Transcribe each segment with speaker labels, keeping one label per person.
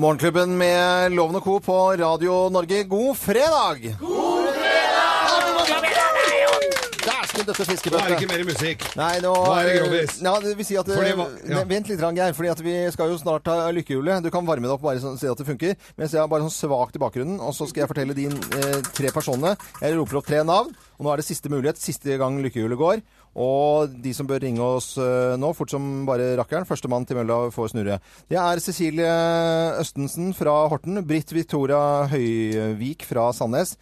Speaker 1: Morgenklubben med Loven og Co. på Radio Norge, god fredag! Dæsken, dette
Speaker 2: Nå er det
Speaker 1: fiskebøttet.
Speaker 2: ikke mer musikk.
Speaker 1: Nei, nå,
Speaker 2: Nå er det grovis.
Speaker 1: Ja, det vil si at, eh,
Speaker 2: For det var- ja.
Speaker 1: Ne- Vent litt, grann, Geir, fordi at vi skal jo snart ta lykkehjulet. Du kan varme det opp bare sånn, se at det funker. Mens jeg er bare sånn svakt i bakgrunnen, og så skal jeg fortelle de eh, tre personene. Jeg roper opp tre navn, og nå er det siste mulighet, siste gang lykkehjulet går. Og de som bør ringe oss eh, nå, fort som bare rakkeren, førstemann til mølla får snurre. Det er Cecilie Østensen fra Horten, Britt Victoria Høyvik fra Sandnes,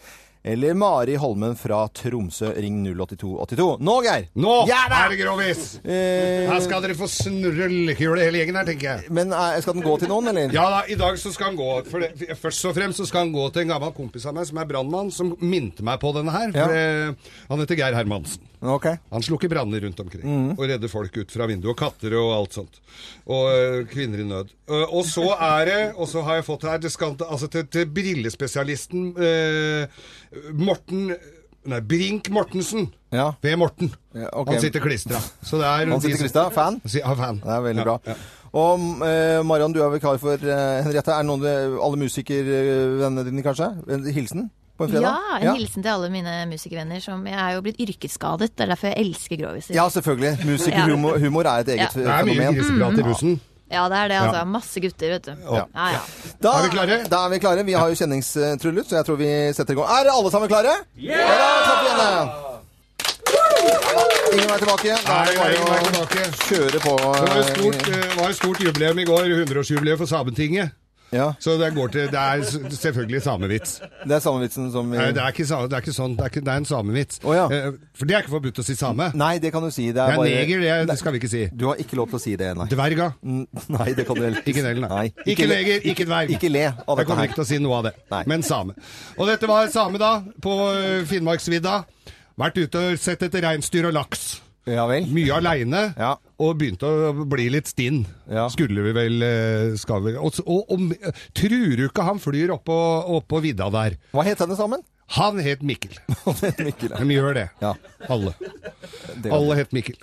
Speaker 1: eller Mari Holmen fra Tromsø. Ring 08282. Nå, Geir!
Speaker 2: Nå
Speaker 1: Ja da!
Speaker 2: er det grovis!
Speaker 1: Eh,
Speaker 2: Her skal dere få snurre lykkehjulet hele gjengen her, tenker jeg.
Speaker 1: men eh, skal den gå til noen, eller?
Speaker 2: Ja da, i dag så skal han gå for det, for- Først og fremst så skal han gå til en gammel kompis av meg som er brannmann, som minte meg på denne her.
Speaker 1: Ja.
Speaker 2: For, eh, han heter Geir Hermansen.
Speaker 1: Ok.
Speaker 2: Han slukker branner rundt omkring og redder folk ut fra vinduet. Og katter og alt sånt. Og øh, kvinner i nød. Øh, og så er det Og så har jeg fått her det skal, altså til, til brillespesialisten øh, Morten Nei, Brink Mortensen.
Speaker 1: Ja.
Speaker 2: V. Morten.
Speaker 1: Ja, ok.
Speaker 2: Han sitter klistra. Så det er
Speaker 1: Han sitter Krista, fan.
Speaker 2: Si- ah, Ja, fan.
Speaker 1: Det er veldig
Speaker 2: Ja,
Speaker 1: bra.
Speaker 2: ja.
Speaker 1: Og eh, Marion, du er vikar for eh, Henriette. Er det noen eh, alle musikervennene dine, kanskje? En hilsen på en fredag?
Speaker 3: Ja, en hilsen til alle mine musikervenner. Som, jeg er jo blitt yrkesskadet, det er derfor jeg elsker groviser.
Speaker 1: Ja, selvfølgelig. Musikerhumor humor er et eget eh,
Speaker 3: Ja.
Speaker 2: Det er mye
Speaker 1: fenomen.
Speaker 2: griseprat i bussen.
Speaker 3: Ja, det er det. altså.
Speaker 2: Ja.
Speaker 3: Masse gutter, vet du.
Speaker 2: Ja.
Speaker 3: Ja, ja.
Speaker 1: Da,
Speaker 2: Er vi klare?
Speaker 1: Da er vi klare. Vi har jo kjenningstrullet, så jeg tror vi setter i gang. Er alle sammen klare? Ja! Da klapper vi igjen. Ingen vei tilbake. Da
Speaker 2: Nei,
Speaker 1: er det
Speaker 2: nei, nei,
Speaker 1: bare å
Speaker 2: tilbake.
Speaker 1: kjøre på.
Speaker 2: Det var jo stort, øh, var jo stort jubileum i går. 100-årsjubileum for Sametinget.
Speaker 1: eh, Ja,
Speaker 2: Så det, går til, det er s- selvfølgelig samevits.
Speaker 1: det er samme vitsen som vi
Speaker 2: Nei, det er ikke, sa- det er ikke sånn, det er, ikke, det er en samevits.
Speaker 1: Å, ja.
Speaker 2: Eh, For det er ikke forbudt å si same.
Speaker 1: Nei, det kan du si. Det
Speaker 2: Det
Speaker 1: er
Speaker 2: er
Speaker 1: bare
Speaker 2: neger, det, det skal vi ikke si.
Speaker 1: Du har ikke lov til å si det, nei.
Speaker 2: Dverga.
Speaker 1: Mm, Nei, det kan du heller
Speaker 2: Ikke det, nei.
Speaker 1: Nei.
Speaker 2: Ikke
Speaker 1: le-
Speaker 2: neger, ikke dverg.
Speaker 1: Ikke le av
Speaker 2: Jeg
Speaker 1: dette
Speaker 2: kommer
Speaker 1: her.
Speaker 2: ikke til å si noe av det,
Speaker 1: Nei.
Speaker 2: men same. Og dette var same, da, på eh, Finnmarksvidda. Vært ute og sett etter reinsdyr og laks.
Speaker 1: Ja vel.
Speaker 2: Mye aleine.
Speaker 1: Ja.
Speaker 2: Og begynte å bli litt stinn.
Speaker 1: Ja.
Speaker 2: Skulle vi vel eh, skal vi, Og, og, og tror du ikke han flyr oppå opp vidda der?
Speaker 1: Hva het henne sammen?
Speaker 2: Han het Mikkel.
Speaker 1: Mikkel.
Speaker 2: De gjør det.
Speaker 1: Ja.
Speaker 2: Alle.
Speaker 1: Det-
Speaker 2: Alle het Mikkel.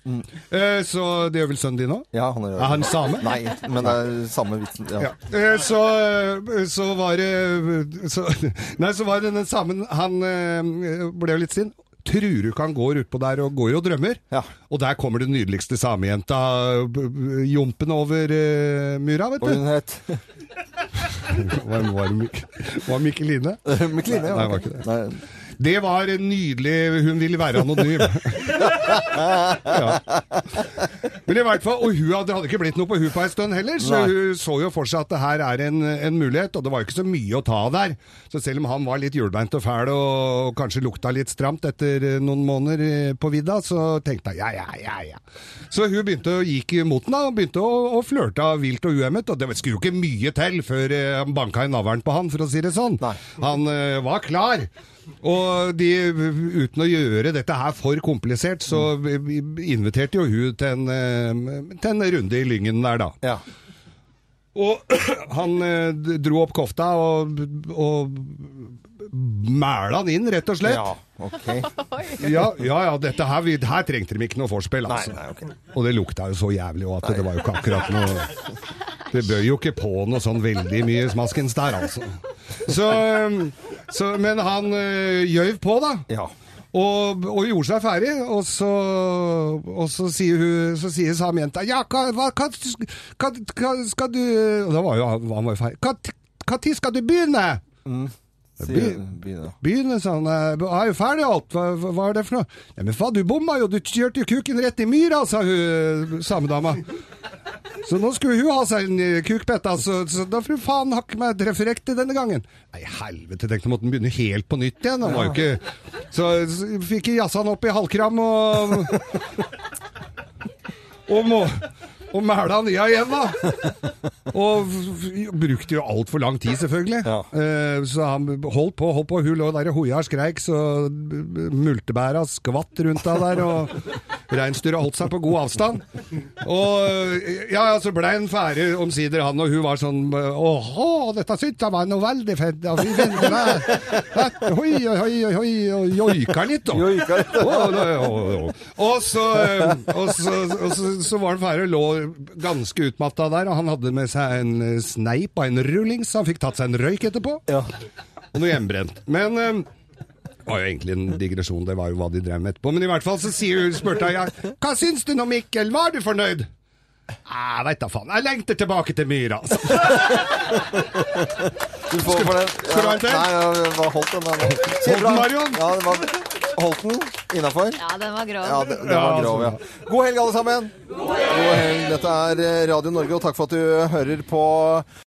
Speaker 2: Eh, så det gjør vel sønnen din òg?
Speaker 1: Mm. Ja, han
Speaker 2: Er han same?
Speaker 1: Nei, men det er samme vitsen. Ja.
Speaker 2: Ja. Eh, Så, eh, så var det eh, så, Nei, så var det den samme Han eh, ble jo litt sint. Tror du ikke han går utpå der og går og drømmer?
Speaker 1: Ja.
Speaker 2: Og der kommer den nydeligste samejenta b- b- jompende over eh, myra, vet
Speaker 1: Og
Speaker 2: du.
Speaker 1: hun het
Speaker 2: Var, var, Mik var Mikkeline?
Speaker 1: Øh, Mikkeline.
Speaker 2: Nei,
Speaker 1: ok.
Speaker 2: var ikke det.
Speaker 1: Nei.
Speaker 2: Det var en nydelig Hun ville være anonym. ja. Men i hvert fall, Og hun hadde, det hadde ikke blitt noe på hun på en stund heller, så
Speaker 1: Nei.
Speaker 2: hun så jo for seg at det her er en, en mulighet, og det var jo ikke så mye å ta der. Så selv om han var litt hjulbeint og fæl og kanskje lukta litt stramt etter eh, noen måneder eh, på vidda, så tenkte hun ja, ja, ja, ja. Så hun begynte å gikk mot den da, og begynte å, å flørte vilt og uhemmet, og det skulle jo ikke mye til før eh, han banka i navlen på han, for å si det sånn.
Speaker 1: Nei.
Speaker 2: Han eh, var klar. Og de, uten å gjøre dette her for komplisert, så inviterte jo hun til en, eh, til en runde i Lyngen der, da.
Speaker 1: Ja.
Speaker 2: Og han eh, dro opp kofta og, og mæla han inn, rett og slett.
Speaker 1: ja. Ok.
Speaker 2: Ja, ja, ja dette her, vi- her trengte de ikke noe vorspiel, altså.
Speaker 1: nei, ok.
Speaker 2: Og det lukta jo så jævlig òg at det var jo ikke akkurat noe Det bøy jo ikke på noe sånn veldig mye smaskens der, altså. Så, øhm, så Men han øh, gjøv på, da.
Speaker 1: Ja.
Speaker 2: Og, og gjorde seg ferdig, og så, og så sier hun Så sier samejenta Ja, hva, hva, hva, hva, hva skal du Og da var jo han han var jo ferdig. Hva- hva tid skal du begynne?
Speaker 1: Sier- begynner.
Speaker 2: Begynne sånn Jeg er jo ferdig alt, hva, hva- hva er det for noe? Ja, men faen, du bomma jo, du kjørte jo kuken rett i myra, sa hun samedama. Så nå skulle hun ha seg en eh, kukbetta, så, så da får du faen hakke meg treffe riktig denne gangen. Nei, helvete, tenkte jeg måtte begynne helt på nytt igjen. Han var jo ikke Så, så fikk jeg jazza han opp i halvkram og Og, må, og mæla han nya igjen, da. Og f- f- brukte jo altfor lang tid, selvfølgelig.
Speaker 1: Ja.
Speaker 2: Eh, så han holdt på, holdt på. Hun lå der og hoia og skreik, så b- b- multebæra skvatt rundt deg der. Og reinsdyra holdt seg på god avstand. Og eh, ja, ja, så blei han ferdig omsider, han, og hun var sånn Åhå, dette syns jeg var noe veldig fett. Ja, vi venter meg. Hoi, hoi, hoi, hoi, og joika litt, da.
Speaker 1: Joika litt.
Speaker 2: Å, da, å, å. Og så, eh, og så, og så, så var han ferdig og lå ganske utmatta der, og han hadde med seg en eh, sneip av en rullings. Han fikk tatt seg en røyk etterpå,
Speaker 1: Ja.
Speaker 2: og noe hjemmebrent. Men eh, det var jo egentlig en digresjon, det var jo hva de drev med etterpå. Men i hvert fall så sier hun, spurte jeg, hva syns du nå, Mikkel? Var du fornøyd? Jeg veit da faen. Jeg lengter tilbake til myra. altså.
Speaker 1: Du får for den.
Speaker 2: skal du ha en til?
Speaker 1: Nei, ja, det var holdt den. men- Så
Speaker 2: Holdt den,
Speaker 1: bra.
Speaker 2: Marion?
Speaker 1: Ja, det var holdt den innafor.
Speaker 3: Ja, den var grov.
Speaker 1: Ja, det, det var
Speaker 2: Ja,
Speaker 1: grov, ja. God helg, alle sammen. God helg. Dette er eh, Radio Norge, og takk for at du hører på